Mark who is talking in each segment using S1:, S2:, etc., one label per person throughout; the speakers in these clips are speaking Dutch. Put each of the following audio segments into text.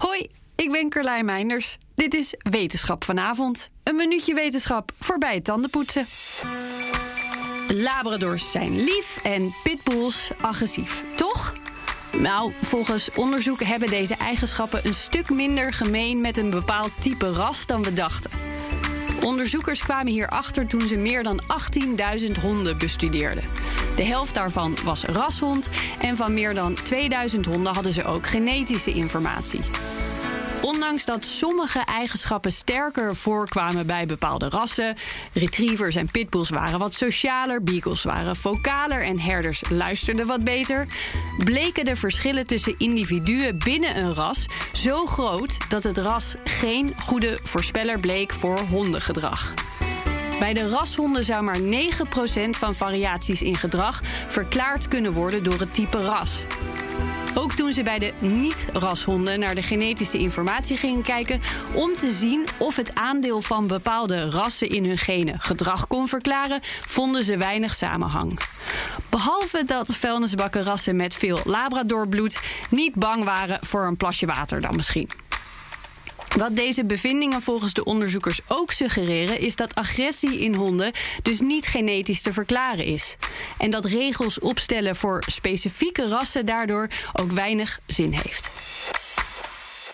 S1: Hoi, ik ben Carlijn Meinders. Dit is Wetenschap vanavond. Een minuutje wetenschap voorbij het tandenpoetsen. Labradors zijn lief en pitbulls agressief, toch? Nou, volgens onderzoek hebben deze eigenschappen een stuk minder gemeen met een bepaald type ras dan we dachten. Onderzoekers kwamen hierachter toen ze meer dan 18.000 honden bestudeerden. De helft daarvan was rashond en van meer dan 2000 honden hadden ze ook genetische informatie. Ondanks dat sommige eigenschappen sterker voorkwamen bij bepaalde rassen, retrievers en pitbulls waren wat socialer, beagles waren vocaler en herders luisterden wat beter, bleken de verschillen tussen individuen binnen een ras zo groot dat het ras geen goede voorspeller bleek voor hondengedrag. Bij de rashonden zou maar 9% van variaties in gedrag verklaard kunnen worden door het type ras. Ook toen ze bij de niet-rashonden naar de genetische informatie gingen kijken om te zien of het aandeel van bepaalde rassen in hun genen gedrag kon verklaren, vonden ze weinig samenhang. Behalve dat vuilnisbakkenrassen met veel labradorbloed niet bang waren voor een plasje water dan misschien. Wat deze bevindingen volgens de onderzoekers ook suggereren, is dat agressie in honden dus niet genetisch te verklaren is. En dat regels opstellen voor specifieke rassen daardoor ook weinig zin heeft.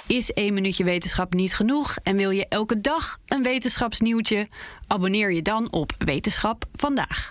S1: Is één minuutje wetenschap niet genoeg en wil je elke dag een wetenschapsnieuwtje? Abonneer je dan op Wetenschap vandaag.